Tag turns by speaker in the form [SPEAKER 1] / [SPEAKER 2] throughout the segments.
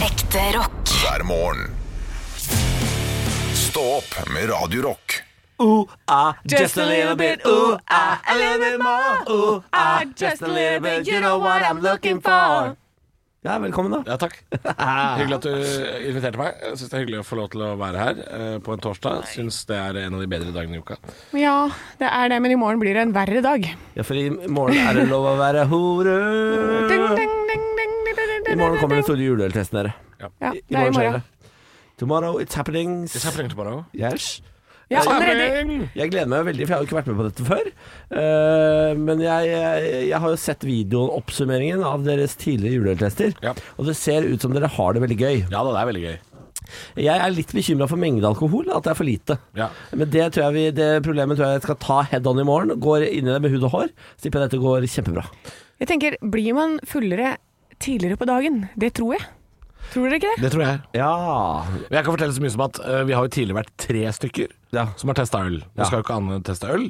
[SPEAKER 1] Ekte rock.
[SPEAKER 2] hver morgen. Stå opp med Radio Rock.
[SPEAKER 3] Ooh, ah,
[SPEAKER 4] Just a little bit. Ooh, ah, a little bit more. Ooh, ah, just a little bit. You know what I'm looking for.
[SPEAKER 3] Ja, velkommen, da.
[SPEAKER 5] Ja, takk. Hyggelig at du inviterte meg. Jeg syns det er hyggelig å få lov til å være her eh, på en torsdag. Syns det er en av de bedre dagene i uka.
[SPEAKER 4] Ja, det er det, men i morgen blir det en verre dag.
[SPEAKER 3] Ja, for i morgen er det lov å være hore.
[SPEAKER 4] Ding,
[SPEAKER 5] Øh.
[SPEAKER 4] ding, ding, ding, ding, ding, ding,
[SPEAKER 3] I morgen kommer den store juleøltesten, dere.
[SPEAKER 4] Ja,
[SPEAKER 3] I-
[SPEAKER 4] det er i
[SPEAKER 3] skjer
[SPEAKER 4] morgen.
[SPEAKER 3] det. Tomorrow it's happening.
[SPEAKER 5] It's happening tomorrow.
[SPEAKER 3] Yes.
[SPEAKER 4] Ja, allerede.
[SPEAKER 3] Jeg gleder meg veldig, for jeg har jo ikke vært med på dette før. Eh, men jeg, jeg, jeg har jo sett videoen, oppsummeringen av deres tidligere juleøltester.
[SPEAKER 5] Ja.
[SPEAKER 3] Og det ser ut som dere har det veldig gøy.
[SPEAKER 5] Ja da, det er veldig gøy.
[SPEAKER 3] Jeg er litt bekymra for mengde alkohol, at det er for lite.
[SPEAKER 5] Ja.
[SPEAKER 3] Men det, tror jeg vi, det problemet tror jeg jeg skal ta head on i morgen. Går inn i det med hud og hår. Så tipper jeg dette går kjempebra.
[SPEAKER 4] Jeg tenker, blir man fullere tidligere på dagen? Det tror jeg. Tror dere ikke det?
[SPEAKER 5] Det tror jeg.
[SPEAKER 3] Ja.
[SPEAKER 5] Men jeg kan fortelle så mye som at eh, vi har jo tidligere vært tre stykker
[SPEAKER 3] Ja.
[SPEAKER 5] som har testa øl.
[SPEAKER 3] Ja.
[SPEAKER 5] Nå skal jo ikke Anne teste øl.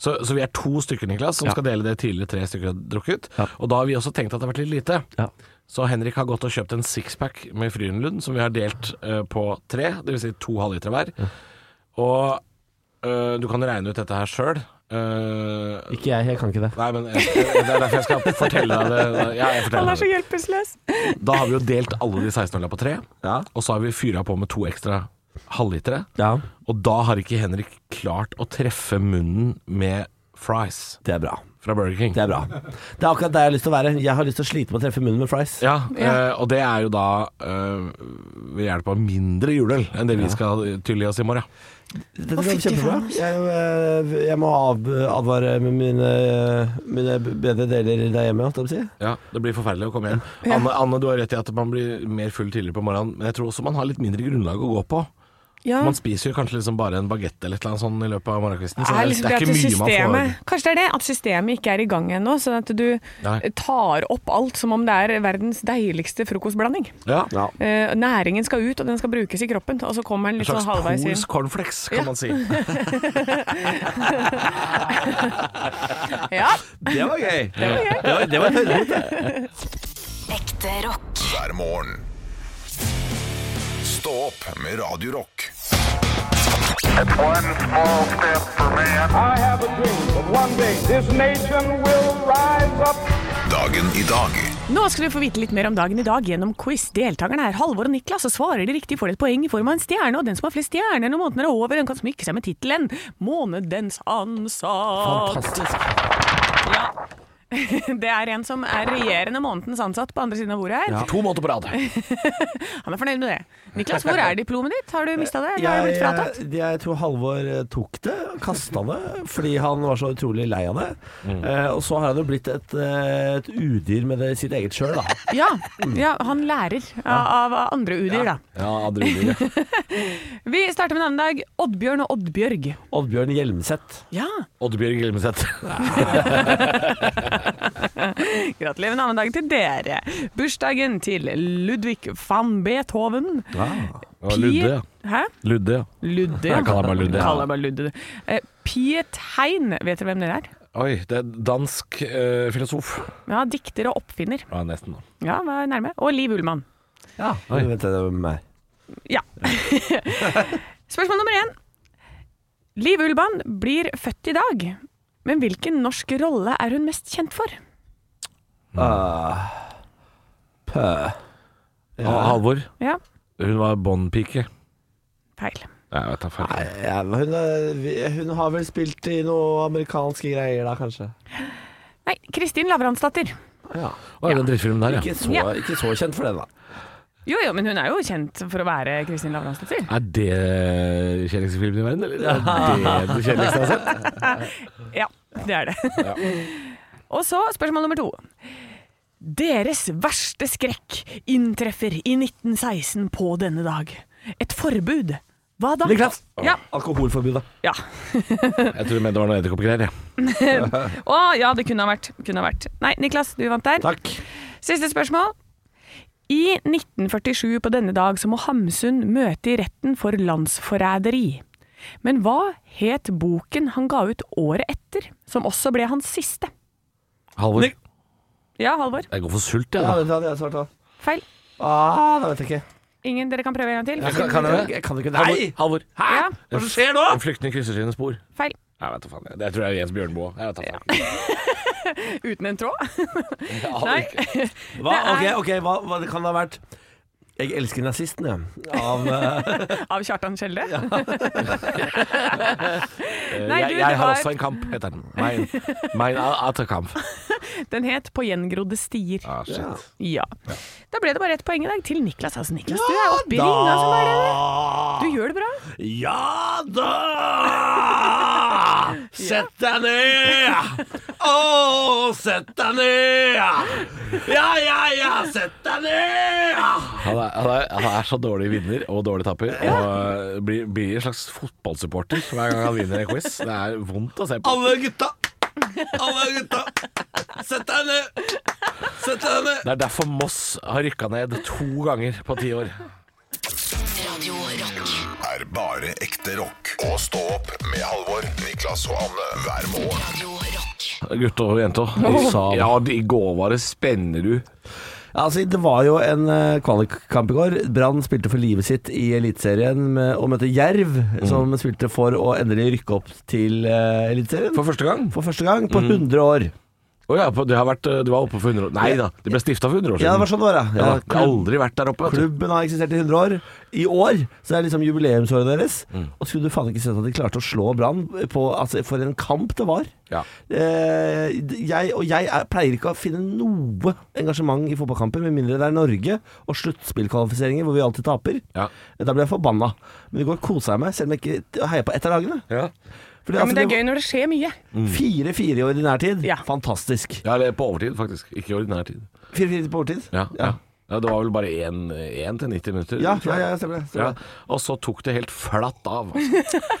[SPEAKER 5] Så, så vi er to stykker Niklas, som skal dele det tidligere tre stykker har drukket.
[SPEAKER 3] Ja.
[SPEAKER 5] Og da har vi også tenkt at det har vært litt lite.
[SPEAKER 3] Ja.
[SPEAKER 5] Så Henrik har gått og kjøpt en sixpack med Frydenlund, som vi har delt eh, på tre, dvs. Si to halvlitere hver. Og eh, du kan regne ut dette her sjøl.
[SPEAKER 3] Ikke jeg, jeg kan ikke det.
[SPEAKER 5] Nei, men jeg, jeg, det er derfor jeg skal fortelle deg det. Ja, jeg
[SPEAKER 4] Han
[SPEAKER 5] forteller
[SPEAKER 4] er så
[SPEAKER 5] deg det.
[SPEAKER 4] hjelpeløs.
[SPEAKER 5] Da har vi jo delt alle de 16 øla på tre,
[SPEAKER 3] Ja.
[SPEAKER 5] og så har vi fyra på med to ekstra halvlitere.
[SPEAKER 3] Ja,
[SPEAKER 5] Og da har ikke Henrik klart å treffe munnen med fries
[SPEAKER 3] det er bra.
[SPEAKER 5] fra Burger King.
[SPEAKER 3] Det er bra. Det er akkurat der jeg har lyst til å være. Jeg har lyst til å slite med å treffe munnen med fries.
[SPEAKER 5] Ja, eh, og det er jo da eh, ved hjelp av mindre juleøl enn det vi skal tylle i oss i morgen.
[SPEAKER 3] Dette
[SPEAKER 4] Å,
[SPEAKER 3] går
[SPEAKER 4] fytti
[SPEAKER 3] kjempebra.
[SPEAKER 4] faen.
[SPEAKER 3] Jeg, øh, jeg må av, advare med mine, mine bedre deler der hjemme, holdt jeg på å si.
[SPEAKER 5] Ja, det blir forferdelig å komme hjem. Anne, Anne, du har rett i at man blir mer full tidligere på morgenen, men jeg tror også man har litt mindre grunnlag å gå på.
[SPEAKER 4] Ja.
[SPEAKER 5] Man spiser jo kanskje liksom bare en bagett eller et eller annet sånn i løpet av morgenkvisten. Så
[SPEAKER 4] Er liksom
[SPEAKER 5] det er
[SPEAKER 4] at
[SPEAKER 5] ikke mye man
[SPEAKER 4] systemet- Kanskje det er det, at systemet ikke er i gang ennå, sånn at du
[SPEAKER 5] Nei.
[SPEAKER 4] tar opp alt som om det er verdens deiligste frokostblanding.
[SPEAKER 5] får. Ja.
[SPEAKER 3] Ja.
[SPEAKER 4] Eh, næringen skal ut, og den skal brukes i kroppen, og så kommer den
[SPEAKER 5] En
[SPEAKER 4] litt sånn
[SPEAKER 5] slags
[SPEAKER 4] halvveis inn.
[SPEAKER 5] polsk cornflakes, kan man si.
[SPEAKER 4] Ja,
[SPEAKER 3] Det var gøy.
[SPEAKER 4] det var gøy.
[SPEAKER 3] Det var, det var høydepunkt.
[SPEAKER 1] Ekte rock.
[SPEAKER 2] hver morgen. Stå opp med Radio Rock.
[SPEAKER 6] One small step for man.
[SPEAKER 7] I have a dream that one day this nation will rise up.
[SPEAKER 2] Dagen i dag
[SPEAKER 4] Nå skal du få vite litt mer om dagen i dag gjennom quiz. Deltakerne er Halvor og Niklas, og svarer de riktig får de et poeng i form av en stjerne. Og den som har flest stjerner når måneden er over, den kan smykke seg med tittelen 'Månedens ansatt'.
[SPEAKER 3] Fantastisk.
[SPEAKER 4] Det er en som er regjerende månedens ansatt på andre siden av bordet her.
[SPEAKER 5] To måneder på rad.
[SPEAKER 4] Han er fornøyd med det. Niklas, hvor er diplomet ditt? Har du mista det, eller har du blitt fratatt?
[SPEAKER 3] Jeg, jeg tror Halvor eh, tok det, kasta det, fordi han var så utrolig lei av det. Eh, og så har han jo blitt et, eh, et udyr med det, sitt eget sjøl, da.
[SPEAKER 4] Ja, ja han lærer av, av andre udyr, da.
[SPEAKER 5] Ja, andre uker. ja.
[SPEAKER 4] Vi starter med en annen dag. Oddbjørn og Oddbjørg.
[SPEAKER 3] Oddbjørn Hjelmseth.
[SPEAKER 4] Ja,
[SPEAKER 5] Oddbjørg Gilmeseth.
[SPEAKER 4] Gratulerer med navnedagen til dere. Bursdagen til Ludvig van Beethoven.
[SPEAKER 5] Og Ludde, ja.
[SPEAKER 4] Hæ?
[SPEAKER 5] Ludde, ja.
[SPEAKER 4] Ludde,
[SPEAKER 5] Jeg kaller han bare Ludde, ja.
[SPEAKER 4] Kaller han bare Ludde. Eh, Piet Hein, vet dere hvem det er?
[SPEAKER 5] Oi, det er dansk eh, filosof.
[SPEAKER 4] Ja, Dikter og oppfinner.
[SPEAKER 5] Ja, nesten. da.
[SPEAKER 4] Ja, var nærme. Og Liv Ullmann.
[SPEAKER 3] Ja,
[SPEAKER 5] Oi.
[SPEAKER 3] vent, det er meg.
[SPEAKER 4] Ja. Spørsmål nummer én. Liv Ullmann blir født i dag, men hvilken norsk rolle er hun mest kjent for?
[SPEAKER 3] Ah. Pø.
[SPEAKER 5] Ah, Halvor,
[SPEAKER 4] Ja,
[SPEAKER 5] hun var båndpike.
[SPEAKER 4] feil.
[SPEAKER 5] Nei, jeg vet da faen.
[SPEAKER 3] Ja, men hun, er- vi- hun har vel spilt i noe amerikanske greier da, kanskje?
[SPEAKER 4] Nei, Kristin Lavransdatter.
[SPEAKER 3] Ja.
[SPEAKER 5] Å, er det en drittfilm der, ja.
[SPEAKER 3] Ikke, så,
[SPEAKER 4] Ja.
[SPEAKER 3] ikke så kjent for den, da.
[SPEAKER 4] Jo jo, men hun er jo kjent for å være Kristin Lavransdatter.
[SPEAKER 5] Er det kjedeligste filmen i verden, eller? Er det altså. det kjedeligste jeg har sett?
[SPEAKER 4] Ja, det er det. Og så spørsmål nummer to. Deres verste skrekk inntreffer i 1916 på denne dag. Et forbud. Hva da?
[SPEAKER 3] Niklas!
[SPEAKER 4] Ja.
[SPEAKER 3] Alkoholforbudet.
[SPEAKER 4] ja.
[SPEAKER 5] Jeg tror du mente det var noe edderkoppgreier, jeg.
[SPEAKER 4] Å ja, det kunne ha vært. Kunne ha vært. Nei, Niklas, du vant der.
[SPEAKER 3] Takk.
[SPEAKER 4] Siste spørsmål. I 1947 på denne dag så må Hamsun møte i retten for landsforræderi. Men hva het boken han ga ut året etter, som også ble hans siste?
[SPEAKER 5] Halvor.
[SPEAKER 4] Ja, Halvor?
[SPEAKER 5] Jeg går for sult, jeg,
[SPEAKER 3] Ja,
[SPEAKER 5] da.
[SPEAKER 3] vent, da hadde jeg svart da.
[SPEAKER 4] Feil.
[SPEAKER 3] Ah, det vet jeg ikke.
[SPEAKER 4] Ingen, dere kan prøve en gang til.
[SPEAKER 5] kan- kan jeg det?
[SPEAKER 3] jeg kan ikke
[SPEAKER 5] Halvor,
[SPEAKER 3] Nei!
[SPEAKER 5] Halvor.
[SPEAKER 3] Hæ?
[SPEAKER 4] Ja.
[SPEAKER 3] Hva er det som skjer nå?
[SPEAKER 5] En flyktning krysser sine spor.
[SPEAKER 4] Feil.
[SPEAKER 5] Jeg vet da faen. jeg. Det tror jeg er Jens Bjørnboe. Jeg vet da faen.
[SPEAKER 4] Uten en tråd?
[SPEAKER 5] Jeg aner
[SPEAKER 4] Nei.
[SPEAKER 5] ikke.
[SPEAKER 3] Hva, ok,
[SPEAKER 4] Det er-
[SPEAKER 3] ok, hva, hva det kan det ha vært? Jeg elsker nazisten, jeg. Av eh,
[SPEAKER 4] Av Kjartan Skjelde?
[SPEAKER 5] Eh,
[SPEAKER 4] Nei,
[SPEAKER 5] jeg,
[SPEAKER 4] du, det
[SPEAKER 5] jeg har
[SPEAKER 4] var-
[SPEAKER 5] også en kamp, heter den. Mein, mein Atterkampf.
[SPEAKER 4] Den het På gjengrodde stier.
[SPEAKER 5] Ah, shit.
[SPEAKER 4] Ja. Da ble det bare ett poeng i dag til Niklas. Altså, Niklas, du er oppe i ringa som er det.
[SPEAKER 3] Ah.
[SPEAKER 4] Du gjør det bra.
[SPEAKER 3] Ja da! Sett deg ned! Å, sett deg ned! Ja, ja, ja, sett deg ned!
[SPEAKER 5] Han, er, han, er, han er så dårlig vinner og dårlig taper. Og eh, blir, blir en slags fotballsupporter hver gang han vinner en quiz. Det er vondt å se på.
[SPEAKER 3] Alle gutta! Alle gutta! Sett deg ned! Sett deg ned!
[SPEAKER 5] Det er derfor Moss har rykka ned to ganger på ti år.
[SPEAKER 1] Radio Rock.
[SPEAKER 2] Er bare ekte rock. Og stå opp med Halvor, Niklas og Anne hver morgen.
[SPEAKER 1] Radio Rock.
[SPEAKER 5] Gutter og jenter. Ja, de- i går var det Spennerud.
[SPEAKER 3] Altså, det var jo en eh, kvalikkamp i går. Brann spilte for livet sitt i Eliteserien med- og møtte Jerv, som spilte for å endelig rykke opp til eh, Eliteserien.
[SPEAKER 5] For første gang.
[SPEAKER 3] For Mm. første gang på 100 år.
[SPEAKER 5] Å ja, på- det har vært, eh, du var oppe for 100 år Nei da, det ble stifta for 100 år siden.
[SPEAKER 3] Ja, det var sånn det var, ja.
[SPEAKER 5] Ja,
[SPEAKER 3] ja
[SPEAKER 5] da, jeg har aldri vært der oppe. Vet du.
[SPEAKER 3] Klubben har eksistert i 100 år. I år så er det liksom jubileumsåret deres.
[SPEAKER 5] Mm.
[SPEAKER 3] Og skulle du faen ikke sett at de klarte å slå Brann på altså, For en kamp det var.
[SPEAKER 5] Ja.
[SPEAKER 3] Eh, jeg, og jeg er, pleier ikke å finne noe engasjement i fotballkamper, med mindre det er Norge og sluttspillkvalifiseringer hvor vi alltid taper.
[SPEAKER 5] Ja.
[SPEAKER 3] Da blir jeg forbanna. Men i går kosa jeg meg, selv om jeg ikke heier på ett av lagene.
[SPEAKER 5] Ja. Mm.
[SPEAKER 3] Fordi,
[SPEAKER 4] Ja, men det
[SPEAKER 3] altså,
[SPEAKER 4] er gøy når det skjer mye.
[SPEAKER 3] var 4-4 i ordinær tid.
[SPEAKER 4] Ja.
[SPEAKER 3] Fantastisk.
[SPEAKER 5] ja, eller på overtid, faktisk. Ikke i ordinær tid.
[SPEAKER 3] 4-4 på overtid.
[SPEAKER 5] Ja, ja. ja Det var vel bare én én til 90 minutter.
[SPEAKER 3] Ja,
[SPEAKER 5] tror jeg.
[SPEAKER 3] ja, ja, stemmer det, stemmer
[SPEAKER 5] Ja,
[SPEAKER 3] det.
[SPEAKER 5] Og så tok det helt flatt av.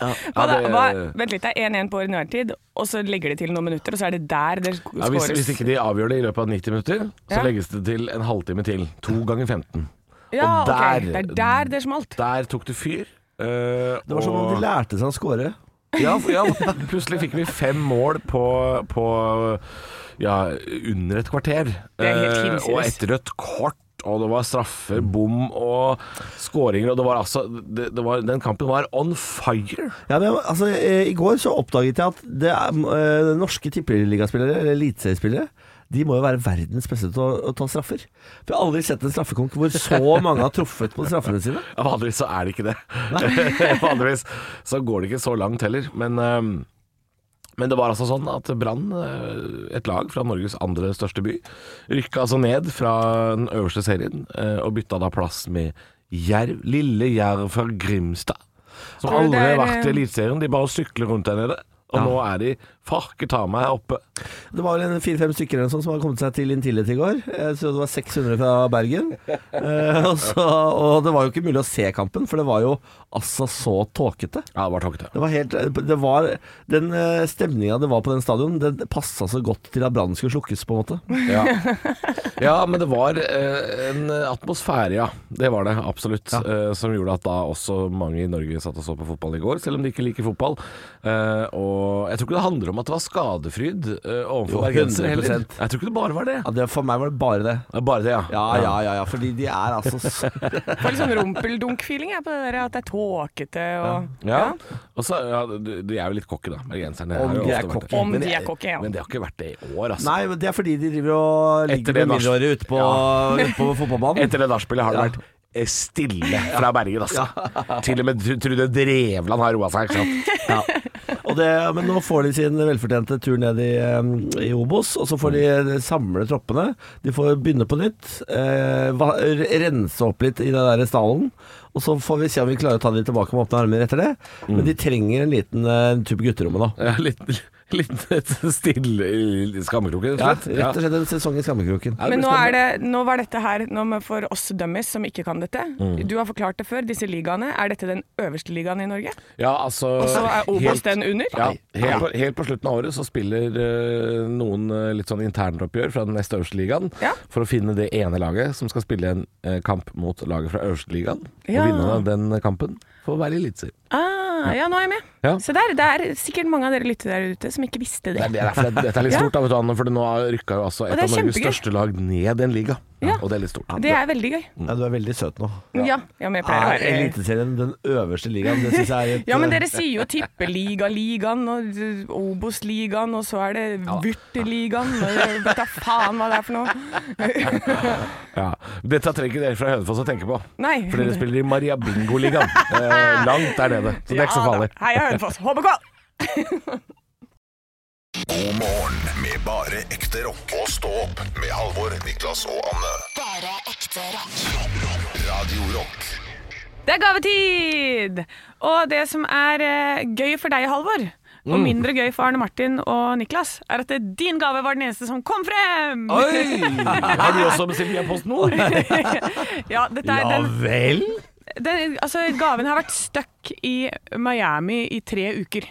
[SPEAKER 5] Altså.
[SPEAKER 4] Hva da,
[SPEAKER 5] Ja, det-
[SPEAKER 4] hva, vent litt, det er 1-1 på ordinærtid, og så legger de til noen minutter, og så er det der det
[SPEAKER 5] Ja, hvis,
[SPEAKER 4] skåres.
[SPEAKER 5] hvis ikke de avgjør det i løpet av 90 minutter, så
[SPEAKER 4] Ja.
[SPEAKER 5] legges det til en halvtime til. To ganger 15.
[SPEAKER 4] Ja,
[SPEAKER 5] og
[SPEAKER 4] ok.
[SPEAKER 5] der-
[SPEAKER 4] Det er der det smalt.
[SPEAKER 5] Der tok det fyr. eh,
[SPEAKER 3] Det var som om
[SPEAKER 5] og-
[SPEAKER 3] de lærte seg å score.
[SPEAKER 5] Ja, for- ja, plutselig fikk vi fem mål på, på ja, under et kvarter.
[SPEAKER 4] Det er helt
[SPEAKER 5] Eh,
[SPEAKER 4] hinsides.
[SPEAKER 5] og et rødt kort. Og det var straffer, bom og skåringer. Og det var altså det, det var, Den kampen var on fire.
[SPEAKER 3] Ja, men altså, eh, I går så oppdaget jeg at det er, eh, norske tippeligaspillere, eller eliteseriespillere, de må jo være verdens beste til å, å ta straffer. For Jeg har aldri sett en straffekonk hvor så mange har truffet på straffene sine.
[SPEAKER 5] Ja, Vanligvis så er det ikke det. Vanligvis så går det ikke så langt heller. Men, eh, men det var altså sånn at Brann, eh, et lag fra Norges andre største by, rykka altså ned fra den øverste serien eh, og bytta da plass med Jerv, lille Jerv fra Grimstad. Som
[SPEAKER 4] Tror du det
[SPEAKER 5] aldri har
[SPEAKER 4] er,
[SPEAKER 5] vært i
[SPEAKER 4] eh,
[SPEAKER 5] Eliteserien. De bare sykler rundt der nede. Og nå er de farke ta meg oppe.
[SPEAKER 3] Det var vel en fire-fem stykker eller noe sånt som hadde kommet seg til Intillit i går. Jeg tror det var 600 fra Bergen. Eh, og, så, og det var jo ikke mulig å se kampen, for det var jo altså så tåkete.
[SPEAKER 5] Ja, det var tåkete.
[SPEAKER 3] Det var helt, eh, det var, den stemninga det var på den stadion, den passa så godt til at brannen skulle slukkes, på en måte.
[SPEAKER 5] Ja. ja, men det var eh, en atmosfære, ja. Det var det absolutt. eh, som gjorde at da også mange i Norge satt og så på fotball i går, selv om de ikke liker fotball. Eh, og jeg tror ikke det handler om at det var skadefryd eh,
[SPEAKER 3] Jo,
[SPEAKER 5] overfor bergensere heller.
[SPEAKER 3] 100%.
[SPEAKER 5] Jeg tror ikke det bare var det.
[SPEAKER 3] Ja, det, for meg var det bare det.
[SPEAKER 5] Det er Bare det, ja.
[SPEAKER 3] Ja, ja, ja, ja, fordi de er altså så
[SPEAKER 4] Jeg får litt sånn rumpeldunk-feeling jeg, på det der at det er tåkete og
[SPEAKER 5] Ja. Og så, ja, de de er jo litt cocky, da, bergenserne.
[SPEAKER 3] Om
[SPEAKER 5] har jo
[SPEAKER 3] de er
[SPEAKER 5] ofte vært det.
[SPEAKER 3] cocky.
[SPEAKER 4] Om
[SPEAKER 5] Men
[SPEAKER 4] de
[SPEAKER 5] jeg-
[SPEAKER 4] er cocky, ja.
[SPEAKER 5] Men det har ikke vært det i år, altså.
[SPEAKER 3] Nei, men det er fordi de driver og
[SPEAKER 5] Etter
[SPEAKER 3] ligger
[SPEAKER 5] det
[SPEAKER 3] med
[SPEAKER 5] nach-
[SPEAKER 3] mindreårige ute på,
[SPEAKER 5] Ja.
[SPEAKER 3] ute på fotballbanen.
[SPEAKER 5] Etter det nachspielet har det vært eh, stille fra Bergen, altså. Til og med Tr- Trude Drevland har roa seg, ikke sant.
[SPEAKER 3] Og det, men nå får de sin velfortjente tur ned i, eh, i Obos, og så får
[SPEAKER 5] Mm.
[SPEAKER 3] de eh, samle troppene. De får begynne på nytt, eh, va- rense opp litt i den der stallen. Og så får vi se om vi klarer å ta de tilbake med åpne armer etter det. Men
[SPEAKER 5] Mm.
[SPEAKER 3] de trenger en liten eh, tur på gutterommet nå.
[SPEAKER 5] Ja, litt, litt et stille skammekroke, rett
[SPEAKER 3] Ja,
[SPEAKER 5] og slett.
[SPEAKER 3] rett og slett en sesong i skammekroken.
[SPEAKER 5] Ja, det
[SPEAKER 4] Men
[SPEAKER 5] blir
[SPEAKER 4] nå, er
[SPEAKER 5] spennende.
[SPEAKER 4] det, nå var dette her Nå må- For oss dummies som ikke kan dette
[SPEAKER 5] Mm.
[SPEAKER 4] Du har forklart det før, disse ligaene Er dette den øverste ligaen i Norge?
[SPEAKER 5] ja, altså,
[SPEAKER 4] Og så er Obos
[SPEAKER 5] helt-
[SPEAKER 4] den under?
[SPEAKER 5] Ja, helt, på, helt på slutten av året så spiller eh, noen eh, litt sånn internoppgjør fra den neste øverste ligaen
[SPEAKER 4] Ja.
[SPEAKER 5] for å finne det ene laget som skal spille en eh, kamp mot laget fra øverste ligaen.
[SPEAKER 4] Ja.
[SPEAKER 5] Og vinneren av den kampen får være i eliteserien.
[SPEAKER 4] Ah, ja, nå er jeg med
[SPEAKER 5] Ja.
[SPEAKER 4] Se der, det er sikkert mange av dere lytter der ute Som ikke visste det
[SPEAKER 5] Det er det- derfor det- Dette er litt
[SPEAKER 4] Ja.
[SPEAKER 5] stort, da, vet du, Anne, for nå rykka jo altså
[SPEAKER 4] Og
[SPEAKER 5] et
[SPEAKER 4] det
[SPEAKER 5] av
[SPEAKER 4] er
[SPEAKER 5] Norges
[SPEAKER 4] kjempegøy.
[SPEAKER 5] største lag ned en liga.
[SPEAKER 4] Ja.
[SPEAKER 5] Og det er litt stort.
[SPEAKER 4] Det er veldig gøy.
[SPEAKER 3] Ja, du er veldig søt nå.
[SPEAKER 5] Mm.
[SPEAKER 4] Ja, ja men jeg pleier å
[SPEAKER 5] Ah,
[SPEAKER 3] Er
[SPEAKER 4] være
[SPEAKER 3] Eliteserien den øverste ligaen? Det syns jeg er et
[SPEAKER 4] ja, men dere sier jo Tippeligaen og eh, Obos-ligaen, og så er det Vurteligaen og jeg Vet da faen hva det er for noe.
[SPEAKER 5] Ja. Dette trenger ikke dere fra Hønefoss å tenke på.
[SPEAKER 4] Nei.
[SPEAKER 5] For dere spiller i Maria Bingo-ligaen. Eh, langt der nede. Så det er ikke så
[SPEAKER 4] Ja da.
[SPEAKER 5] farlig.
[SPEAKER 4] Heia Hønefoss. HBK!
[SPEAKER 2] God morgen med bare ekte rock. Og stå opp med Halvor, Niklas og Anne.
[SPEAKER 1] Bare ekte rock.
[SPEAKER 2] Radio Rock.
[SPEAKER 4] Det er gavetid! Og det som er eh, gøy for deg, Halvor,
[SPEAKER 5] Mm.
[SPEAKER 4] og mindre gøy for Arne Martin og Niklas, er at det, din gave var den eneste som kom frem!
[SPEAKER 5] Har du også bestilt via posten nå?
[SPEAKER 4] Ja, dette er den,
[SPEAKER 5] vel?
[SPEAKER 4] den, altså, gaven har vært stuck i Miami i tre uker.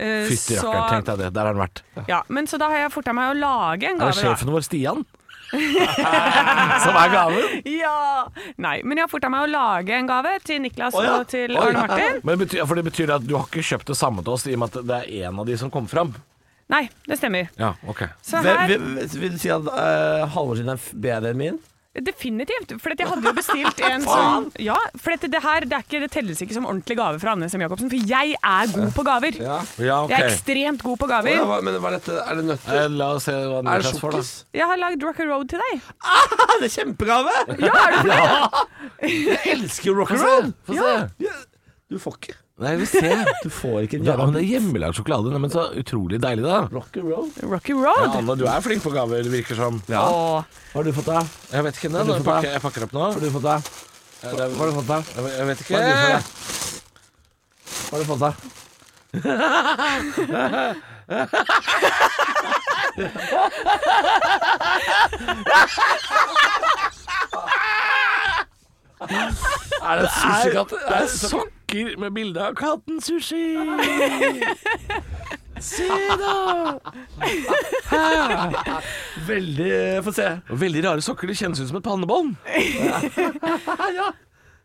[SPEAKER 4] Eh,
[SPEAKER 5] Fytti rakkeren, tenk deg det. Der har den vært.
[SPEAKER 4] ja, men så da har jeg forta meg å lage en
[SPEAKER 5] Er det
[SPEAKER 4] gave. da.
[SPEAKER 5] sjefen vår, Stian? Som er gaven?
[SPEAKER 4] Ja! Nei, men jeg har forta meg å lage en gave til Niklas
[SPEAKER 5] Å, ja.
[SPEAKER 4] og til
[SPEAKER 5] Oi.
[SPEAKER 4] Arne Martin.
[SPEAKER 5] Men betyr, for det betyr at du har ikke kjøpt det samme til oss i og med at det er én av de som kom fram?
[SPEAKER 4] Nei, det stemmer.
[SPEAKER 5] Ja, ok.
[SPEAKER 4] Så
[SPEAKER 3] Hvem-
[SPEAKER 4] her,
[SPEAKER 3] hvem- Vil du si at uh, Halvor sin er f- bedre enn min?
[SPEAKER 4] definitivt. For at jeg hadde jo bestilt en sånn Ja, for at det her det, er ikke, det telles ikke som ordentlig gave fra Anne Sem Jacobsen, for jeg er god på gaver.
[SPEAKER 5] Ja,
[SPEAKER 4] Jeg er
[SPEAKER 5] ok.
[SPEAKER 4] ekstremt god på gaver.
[SPEAKER 3] men hva er dette? Er det nøtter?
[SPEAKER 5] Eh, La oss se hva den er for, da.
[SPEAKER 4] Jeg har lagd Rock and Road til deg.
[SPEAKER 3] Ah, det er kjempegave! Ja, er det Jeg elsker rock and roll!
[SPEAKER 5] Få se.
[SPEAKER 3] Du får ikke.
[SPEAKER 5] Nei, vi ser.
[SPEAKER 3] Du får ikke en
[SPEAKER 5] Ja, men
[SPEAKER 3] gave.
[SPEAKER 5] det er hjemmelagd sjokolade. Nei, Men så utrolig deilig, da.
[SPEAKER 3] Rock and roll?
[SPEAKER 4] Rocky Road.
[SPEAKER 5] Anne, du er flink på gaver, virker som.
[SPEAKER 4] Åh.
[SPEAKER 3] Hva har du fått deg?
[SPEAKER 5] Jeg vet ikke, nå,
[SPEAKER 3] du
[SPEAKER 5] jeg
[SPEAKER 3] fått
[SPEAKER 5] pakker,
[SPEAKER 3] det?
[SPEAKER 5] jeg pakker opp nå.
[SPEAKER 3] Hva har du fått deg? Hva har du fått deg?
[SPEAKER 5] Jeg jeg vet ikke.
[SPEAKER 3] Hva har du fått deg? Hva har du fått deg?
[SPEAKER 5] Er det sushikatt? Det er sokker med bilde av katten Sushi. Se da!
[SPEAKER 3] Veldig Få se.
[SPEAKER 5] Veldig rare sokker. Det kjennes ut som et pannebånd.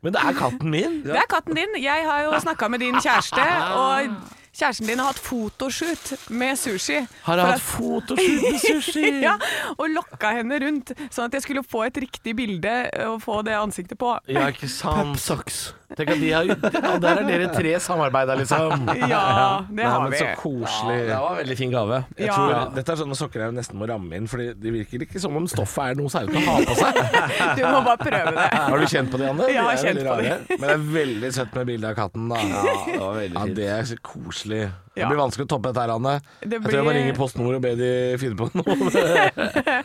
[SPEAKER 5] Men det er katten min.
[SPEAKER 4] Det er katten din. Jeg har jo snakka med din kjæreste,
[SPEAKER 5] Ah.
[SPEAKER 4] og kjæresten din har hatt fotoshoot med sushi. For
[SPEAKER 5] Har jeg
[SPEAKER 4] at-
[SPEAKER 5] hatt fotoshoot med sushi?
[SPEAKER 4] ja, og lokka henne rundt, sånn at jeg skulle få et riktig bilde og få det ansiktet på.
[SPEAKER 5] Ja, ikke sant. Tenk at de har Og der er dere tre samarbeida, liksom.
[SPEAKER 4] Ja, det
[SPEAKER 5] Nei,
[SPEAKER 4] har
[SPEAKER 5] men
[SPEAKER 4] vi.
[SPEAKER 5] så koselig.
[SPEAKER 3] Det var en veldig fin gave.
[SPEAKER 4] Ja.
[SPEAKER 5] Tror, Dette er sånne sokker jeg nesten må ramme inn, Fordi det virker ikke som om stoffet er noe særlig å ha på seg.
[SPEAKER 4] Du må bare prøve det.
[SPEAKER 5] Har du kjent på de, Anne?
[SPEAKER 4] Ja, jeg har
[SPEAKER 5] De er
[SPEAKER 4] kjent
[SPEAKER 5] veldig
[SPEAKER 4] på de.
[SPEAKER 5] rare. Men det er veldig søtt med bilde av katten. Da. Ja, det, er så koselig. Det
[SPEAKER 4] Ja.
[SPEAKER 5] blir vanskelig å toppe dette her, Anne.
[SPEAKER 4] Det
[SPEAKER 5] Jeg tror jeg må
[SPEAKER 4] blir-
[SPEAKER 5] ringe Post Nord og be de finne på noe.
[SPEAKER 4] Nei,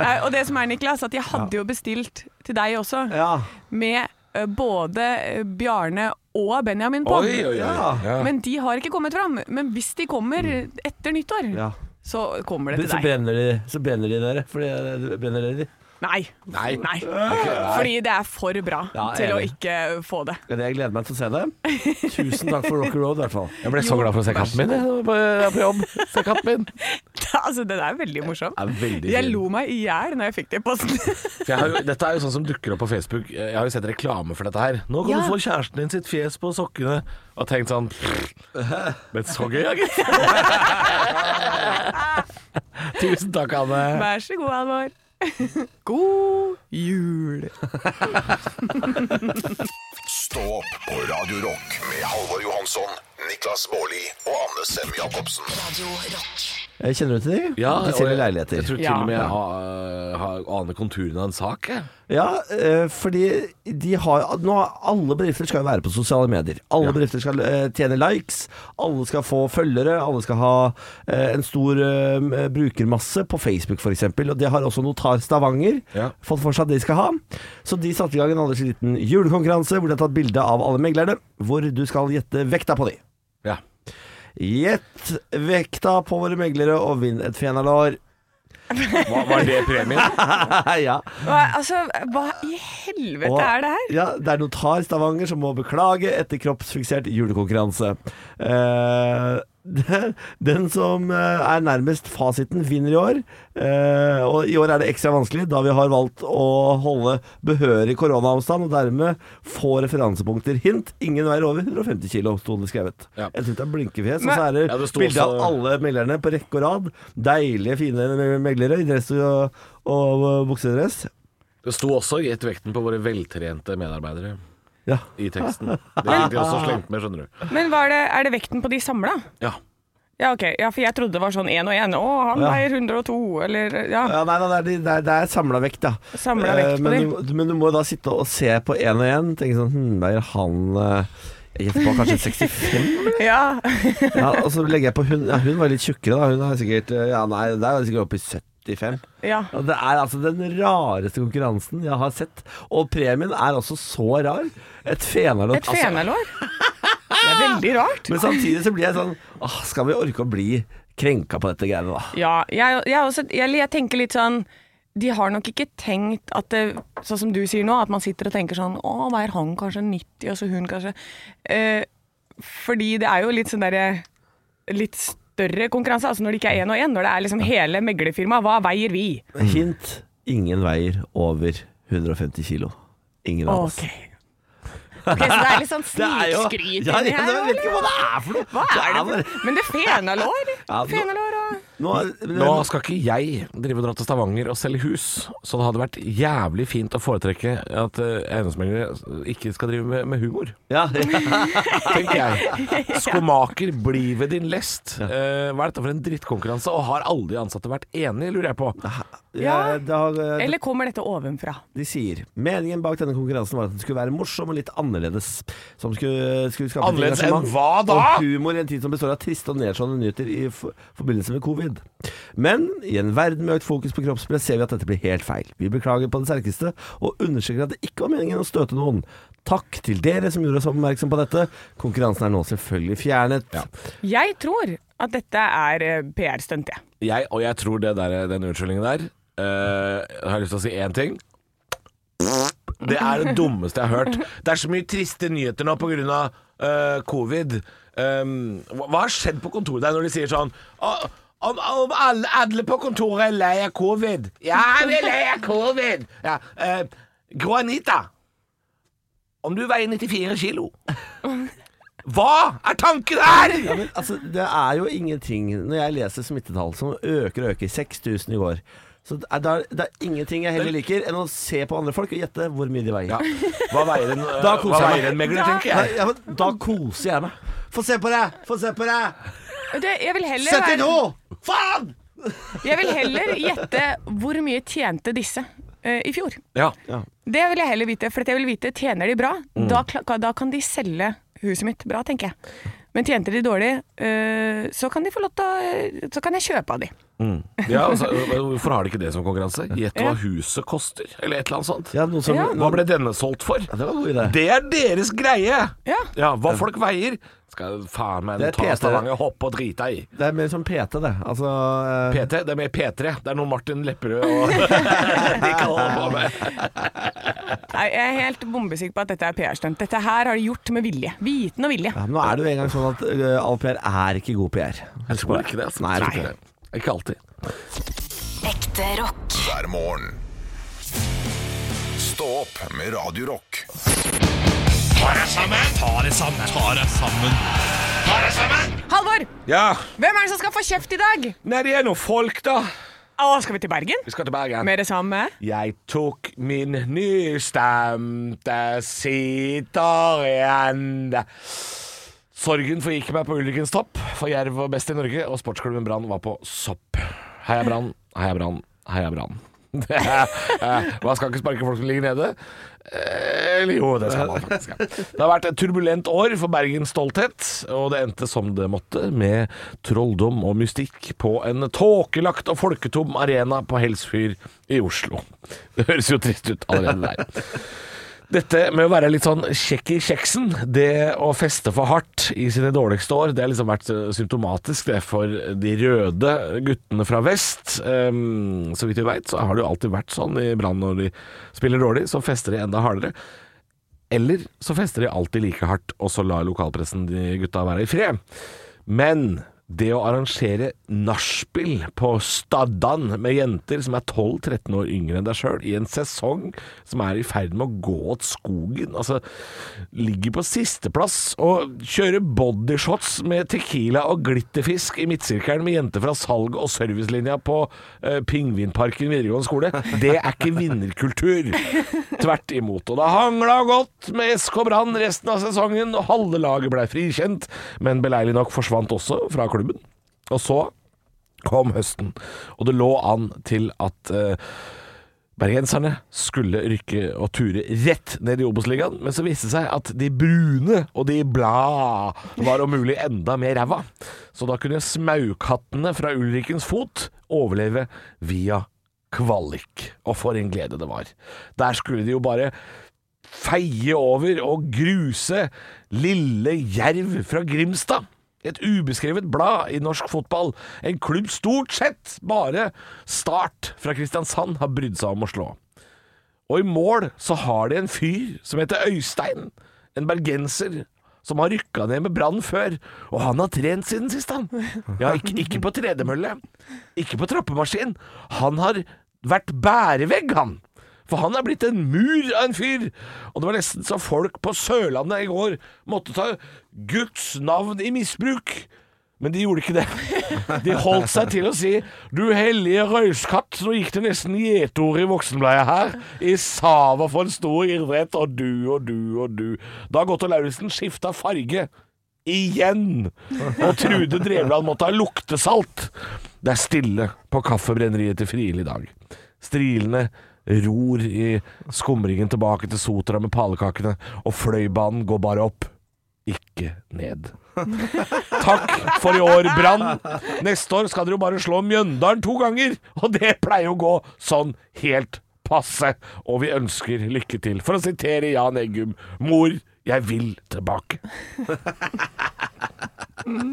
[SPEAKER 4] Eh, Og det som er, Niklas, at jeg hadde jo bestilt til deg også,
[SPEAKER 3] Ja.
[SPEAKER 4] med ø, både ø, Bjarne og Benjamin på.
[SPEAKER 5] Oi, oi, oi.
[SPEAKER 3] Ja.
[SPEAKER 4] Men de har ikke kommet fram. Men hvis de kommer etter nyttår,
[SPEAKER 3] Mm. ja.
[SPEAKER 4] så kommer det
[SPEAKER 3] Så
[SPEAKER 4] til deg.
[SPEAKER 3] brenner de, så brenner de dere. Fordi eh, det brenner dere.
[SPEAKER 4] Nei.
[SPEAKER 5] Nei.
[SPEAKER 4] Nei. Fordi det er for bra
[SPEAKER 3] Ja, jeg er
[SPEAKER 4] til å
[SPEAKER 3] enig.
[SPEAKER 4] ikke få det.
[SPEAKER 3] Men jeg gleder meg til å se det. Tusen takk for Rock and Roll, i hvert fall.
[SPEAKER 5] Jeg ble så glad for å se katten min. Jeg var på jobb. Se katten min.
[SPEAKER 4] Altså, Den er veldig morsom.
[SPEAKER 5] Er veldig
[SPEAKER 4] Jeg
[SPEAKER 5] fin.
[SPEAKER 4] lo meg i hjel når jeg fikk det i posten.
[SPEAKER 5] For jeg har jo, dette er jo sånn som dukker opp på Facebook. Jeg har jo sett reklame for dette her. Nå kan
[SPEAKER 4] Ja.
[SPEAKER 5] du få kjæresten din sitt fjes på sokkene. Og tenkt sånn Men så gøy, ja, gitt. Tusen takk, Anne.
[SPEAKER 4] Vær så god, Halvor. God jul.
[SPEAKER 2] Stå opp på Radio Rock med Halvor Johansson, Niklas Baarli og Anne Sem Jacobsen.
[SPEAKER 1] Radio Rock.
[SPEAKER 3] Jeg Eh, kjenner du til de? de selger
[SPEAKER 5] og jeg-
[SPEAKER 3] leiligheter.
[SPEAKER 5] Jeg tror til
[SPEAKER 4] Ja.
[SPEAKER 5] og med jeg har- eh, har- aner konturene av en sak. jeg.
[SPEAKER 3] Ja, eh, fordi de har nå, Alle bedrifter skal jo være på sosiale medier. Alle bedrifter skal eh, tjene likes, alle skal få følgere, alle skal ha eh, en stor eh, m- brukermasse på Facebook f.eks. Og det har også Notar Stavanger
[SPEAKER 5] Ja.
[SPEAKER 3] fått for seg at de skal ha. Så de satte i gang en aldri så liten julekonkurranse hvor de har tatt bilde av alle meglerne, hvor du skal gjette vekta på de.
[SPEAKER 5] Ja.
[SPEAKER 3] Gjett vekta på våre meglere og vinn et fenalår.
[SPEAKER 5] Hva, var det premien?
[SPEAKER 3] ja.
[SPEAKER 4] Hva, altså, hva i helvete
[SPEAKER 3] Og-
[SPEAKER 4] er det her?
[SPEAKER 3] Ja, det er notar Stavanger som må beklage etter kroppsfiksert julekonkurranse. Eh, den- den som eh, er nærmest fasiten, vinner i år. Eh, og i år er det ekstra vanskelig, da vi har valgt å holde behørig koronaavstand, og dermed få referansepunkter. Hint ingen veier over 150 kg, sto det skrevet.
[SPEAKER 5] Ja.
[SPEAKER 3] Jeg synes det er blinkefjes, og så er det
[SPEAKER 5] Ja, det sto
[SPEAKER 3] bilde av
[SPEAKER 5] også-
[SPEAKER 3] alle meglerne på rekke og rad. Deilige, fine meglere i dress og, og buksedress.
[SPEAKER 5] Det sto også 'gjett vekten på våre veltrente medarbeidere'
[SPEAKER 3] Ja.
[SPEAKER 5] i teksten. Det fikk de også slengt med, skjønner du.
[SPEAKER 4] Men var det, er det vekten på de samla?
[SPEAKER 5] Ja.
[SPEAKER 4] Ja, ok. Ja, for jeg trodde det var sånn én og én. Å, han veier 102, eller ja.
[SPEAKER 3] Ja, nei, nei, det er, de- det er, det er samla vekt, ja.
[SPEAKER 4] Samla vekt
[SPEAKER 3] Eh,
[SPEAKER 4] på
[SPEAKER 3] men, du, men du må jo da sitte og se på én og én. Tenke sånn hm, Veier han eh, Jeg gjetter på kanskje 65?
[SPEAKER 4] ja.
[SPEAKER 3] Ja, og så legger jeg på hun. Ja, hun var litt tjukkere, da. Hun er sikkert eh, Ja, nei, der var hun sikkert oppe i 75.
[SPEAKER 4] ja.
[SPEAKER 3] Og det er altså den rareste konkurransen jeg har sett. Og premien er også så rar. Et fenalår.
[SPEAKER 4] Et fenalår.
[SPEAKER 3] Altså.
[SPEAKER 4] Det er veldig rart.
[SPEAKER 3] men samtidig så blir jeg sånn Åh, Skal vi orke å bli krenka på dette greiene, da?
[SPEAKER 4] Ja, jeg, jeg, er også, jeg, jeg tenker litt sånn De har nok ikke tenkt at det Sånn som du sier nå, at man sitter og tenker sånn Å, veier han kanskje 90, og så hun kanskje eh, Fordi det er jo litt sånn derre Litt større konkurranse, altså når det ikke er én og én. Når det er liksom hele meglerfirmaet. Hva veier vi?
[SPEAKER 3] Hint ingen veier over 150 kilo. Ingen av oss.
[SPEAKER 4] Ok. Ok, så det er litt sånn
[SPEAKER 3] Det er jo
[SPEAKER 4] snikskryt
[SPEAKER 3] ja,
[SPEAKER 4] inni
[SPEAKER 3] ja,
[SPEAKER 4] her.
[SPEAKER 3] Jeg vet ikke hva det er for noe!
[SPEAKER 4] Hva er det
[SPEAKER 3] bare-
[SPEAKER 4] for Men det er fenalår.
[SPEAKER 3] Ja, nå-
[SPEAKER 4] Fenalår og
[SPEAKER 3] Nå, men-
[SPEAKER 5] Nå skal ikke jeg drive og dra til Stavanger og selge hus, så det hadde vært jævlig fint å foretrekke at eh, eiendomsmeglere ikke skal drive med, med humor.
[SPEAKER 3] ja, ja.
[SPEAKER 5] tenker jeg. Skomaker, bli ved din lest. Eh, hva er dette for en drittkonkurranse? Og har alle de ansatte vært enige, lurer jeg på.
[SPEAKER 4] Ja.
[SPEAKER 3] Eh, det har, eh,
[SPEAKER 4] Eller kommer dette ovenfra?
[SPEAKER 3] De sier meningen bak denne konkurransen var at den skulle være morsom og litt annerledes. Som skulle, skulle skape et
[SPEAKER 5] Annerledes
[SPEAKER 3] engasjement
[SPEAKER 5] enn hva da?
[SPEAKER 3] Og humor i en tid som består av triste og nedslående nyheter i for forbindelse med covid. Men i en verden med økt fokus på kroppspress ser vi at dette blir helt feil. Vi beklager på det sterkeste og understreker at det ikke var meningen å støte noen. Takk til dere som gjorde oss oppmerksom på dette. Konkurransen er nå selvfølgelig fjernet.
[SPEAKER 4] Jeg tror at dette er eh, PR-stunt, jeg.
[SPEAKER 5] Jeg, og jeg tror det der, den unnskyldningen der eh, Jeg har lyst til å si én ting. Det er det dummeste jeg har hørt. Det er så mye triste nyheter nå pga. Uh, covid. Um, hva hva har skjedd på kontoret der når de sier sånn «Å, om, om alle, alle på kontoret er lei av covid. Ja, vi er lei av covid. Ja, eh, Grå Anita, om du veier 94 kilo Hva er tanken her?!
[SPEAKER 3] Ja, men, altså, det er jo ingenting Når jeg leser smittetall som øker og øker 6000 i går Så det er, det er- det er ingenting jeg heller liker Enn å se på andre folk og gjette hvor mye de veier
[SPEAKER 5] Ja. Hva veier en,
[SPEAKER 3] Da koser
[SPEAKER 5] hva
[SPEAKER 3] jeg meg.
[SPEAKER 5] veier en megler, tenker jeg.
[SPEAKER 3] Nei, ja, men, Da koser jeg meg Få se på deg, få se på deg
[SPEAKER 4] Det, jeg, vil heller
[SPEAKER 3] Sett deg
[SPEAKER 4] være,
[SPEAKER 3] nå, faen
[SPEAKER 4] jeg vil heller gjette hvor mye tjente disse eh, i fjor.
[SPEAKER 5] Ja.
[SPEAKER 4] Det vil jeg heller vite, for jeg vil vite tjener de bra, da, kla- da kan de selge huset mitt bra, tenker jeg. Men tjente de dårlig, eh, så kan de få lov til å eh, Så kan jeg kjøpe av de.
[SPEAKER 5] Ja, altså, Hvorfor har de ikke det som konkurranse? Gjett hva huset koster, eller et eller annet sånt.
[SPEAKER 3] Ja, noe som
[SPEAKER 4] Ja.
[SPEAKER 5] Hva ble denne solgt for?
[SPEAKER 3] Ja, det var en god idé
[SPEAKER 5] Det er deres greie!
[SPEAKER 4] Ja.
[SPEAKER 5] Hva folk veier, skal faen meg
[SPEAKER 3] Det er
[SPEAKER 5] ta
[SPEAKER 3] Peter.
[SPEAKER 5] Stavanger, hoppe og drite i.
[SPEAKER 3] Det er mer som PT det altså, eh,
[SPEAKER 5] PT, det er mer P3. Det er noe Martin Lepperød og de kan holde på med.
[SPEAKER 4] Nei, jeg er helt bombesikker på at dette er PR-stunt. Dette her har de gjort med vilje. Viten og vilje.
[SPEAKER 3] ja, men Nå er det jo en gang sånn at eh, all PR er ikke god PR
[SPEAKER 5] Jeg tror ikke det. Altså.
[SPEAKER 3] Nei, jeg tror
[SPEAKER 5] Nei.
[SPEAKER 3] ikke
[SPEAKER 5] Ikke alltid.
[SPEAKER 1] Ekte rock.
[SPEAKER 2] hver morgen. Stå opp med Radio Rock.
[SPEAKER 4] Halvor!
[SPEAKER 5] Ja,
[SPEAKER 4] Hvem er det som skal få kjeft i dag?
[SPEAKER 5] nei, det er noen folk, da.
[SPEAKER 4] Å, skal vi til Bergen?
[SPEAKER 5] Vi skal til Bergen.
[SPEAKER 4] Med det samme?
[SPEAKER 5] Jeg tok min nystemte sitar igjen. Sorgen forgikk meg på ulykkens topp, for Jerv var best i Norge, og sportsklubben Brann var på sopp. Heia Brann, heia Brann, heia Brann. Det er- eh, Man skal ikke sparke folk som ligger nede. Eh, Eller jo, det skal man faktisk. ja. Det har vært et turbulent år for Bergens stolthet, og det endte som det måtte, med trolldom og mystikk på en tåkelagt og folketom arena på Helsfyr i Oslo. Det høres jo trist ut allerede der. Dette med å være litt sånn kjekk i kjeksen, det å feste for hardt i sine dårligste år, det har liksom vært eh, symptomatisk det for de røde guttene fra vest. Ehm, så vidt vi veit, så har det jo alltid vært sånn i Brann når de spiller dårlig, så fester de enda hardere. Eller så fester de alltid like hardt, og så lar lokalpressen de gutta være i fred. Men det å arrangere nachspiel på Staddan med jenter som er 12-13 år yngre enn deg sjøl, i en sesong som er i ferd med å gå åt skogen Altså, ligger på sisteplass og kjører bodyshots med tequila og glitterfisk i midtsirkelen med jenter fra salg- og servicelinja på eh, Pingvinparken videregående skole, det er ikke vinnerkultur. Tvert imot. Og det hangla godt med SK Brann resten av sesongen, og halve laget blei frikjent, men beleilig nok forsvant også fra klubben. Og så kom høsten, og det lå an til at eh, Bergenserne skulle rykke og ture rett ned i Obos-ligaen, men så viste det seg at de brune og de blad var om mulig enda mer ræva. Så da kunne smaughattene fra Ulrikkens fot overleve via kvalik. Og for en glede det var. Der skulle de jo bare feie over og gruse lille Jerv fra Grimstad. Et ubeskrevet blad i norsk fotball. En klubb stort sett bare Start fra Kristiansand har brydd seg om å slå. Og i mål så har de en fyr som heter Øystein, en bergenser som har rykka ned med Brann før, og han har trent siden sist, han. Ja, ikke, ikke på tredemølle, ikke på trappemaskin. Han har vært bærevegg, han. For han er blitt en mur av en fyr. Og det var nesten så folk på Sørlandet i går måtte ta Guds navn i misbruk. Men de gjorde ikke det. De holdt seg til å si 'Du hellige røyskatt'. Nå gikk det nesten gjetord i voksenbleia her. I sava for en stor idrett, og du og du og du. Da Gotto Lauritzen skifta farge. Igjen! Og Trude Drevland måtte ha luktesalt. Det er stille på kaffebrenneriet til Friele i dag. Strilene ror i skumringen tilbake til Sotra med palekakene, og Fløibanen går bare opp, ikke ned. Takk for i år, Brann. Neste år skal dere jo bare slå Mjøndalen to ganger, og det pleier å gå sånn helt passe. Og vi ønsker lykke til. For å sitere Jan Eggum, mor, jeg vil tilbake.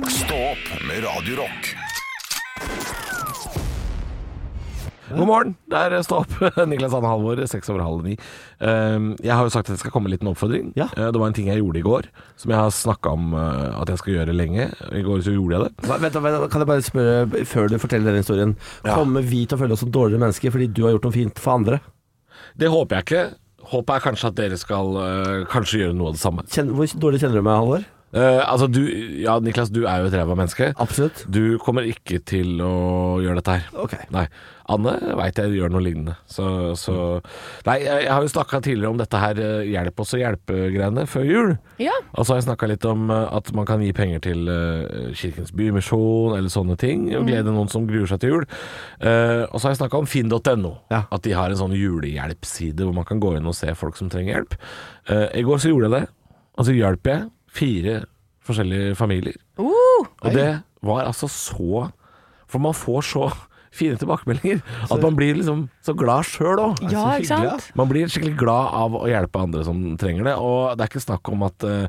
[SPEAKER 2] Stå opp med Radio Rock.
[SPEAKER 5] God morgen, der står opp Niklas Anne Halvor, seks over halv ni. Ehm, Jeg har jo sagt at det skal komme en liten oppfordring.
[SPEAKER 3] Ja.
[SPEAKER 5] Eh, Det var en ting jeg gjorde i går, som jeg har snakka om eh, at jeg skal gjøre lenge. I går så gjorde jeg det.
[SPEAKER 3] Hva, vent, da, vent, da, kan jeg bare spørre, før du forteller den historien Kommer vi til å føle oss som dårligere mennesker fordi du har gjort noe fint for andre?
[SPEAKER 5] Det håper jeg ikke. Håpet er kanskje at dere skal eh, kanskje gjøre noe av det samme.
[SPEAKER 3] Kjenn, hvor dårlig kjenner du meg, Halvor?
[SPEAKER 5] Eh, altså du, ja Niklas, du er jo et ræva menneske.
[SPEAKER 3] Absolutt.
[SPEAKER 5] Du kommer ikke til å gjøre dette her.
[SPEAKER 3] Ok.
[SPEAKER 5] Nei. Anne veit jeg gjør noe lignende. Så, så Nei, jeg, jeg har jo snakka tidligere om dette her eh, hjelp oss å hjelpe-greiene før jul.
[SPEAKER 4] Ja.
[SPEAKER 5] Og så har jeg snakka litt om eh, at man kan gi penger til eh, Kirkens Bymisjon eller sånne ting, og glede noen som gruer seg til jul. Eh, og så har jeg snakka om finn.no,
[SPEAKER 3] Ja.
[SPEAKER 5] at de har en sånn julehjelpside hvor man kan gå inn og se folk som trenger hjelp. Eh, I går så gjorde jeg det, og så hjalp jeg fire forskjellige familier. Og det var altså så For man får så fine tilbakemeldinger at man blir liksom så glad sjøl òg.
[SPEAKER 4] Ja, ikke sant?
[SPEAKER 5] Man blir skikkelig glad av å hjelpe andre som trenger det, og det er ikke snakk om at eh,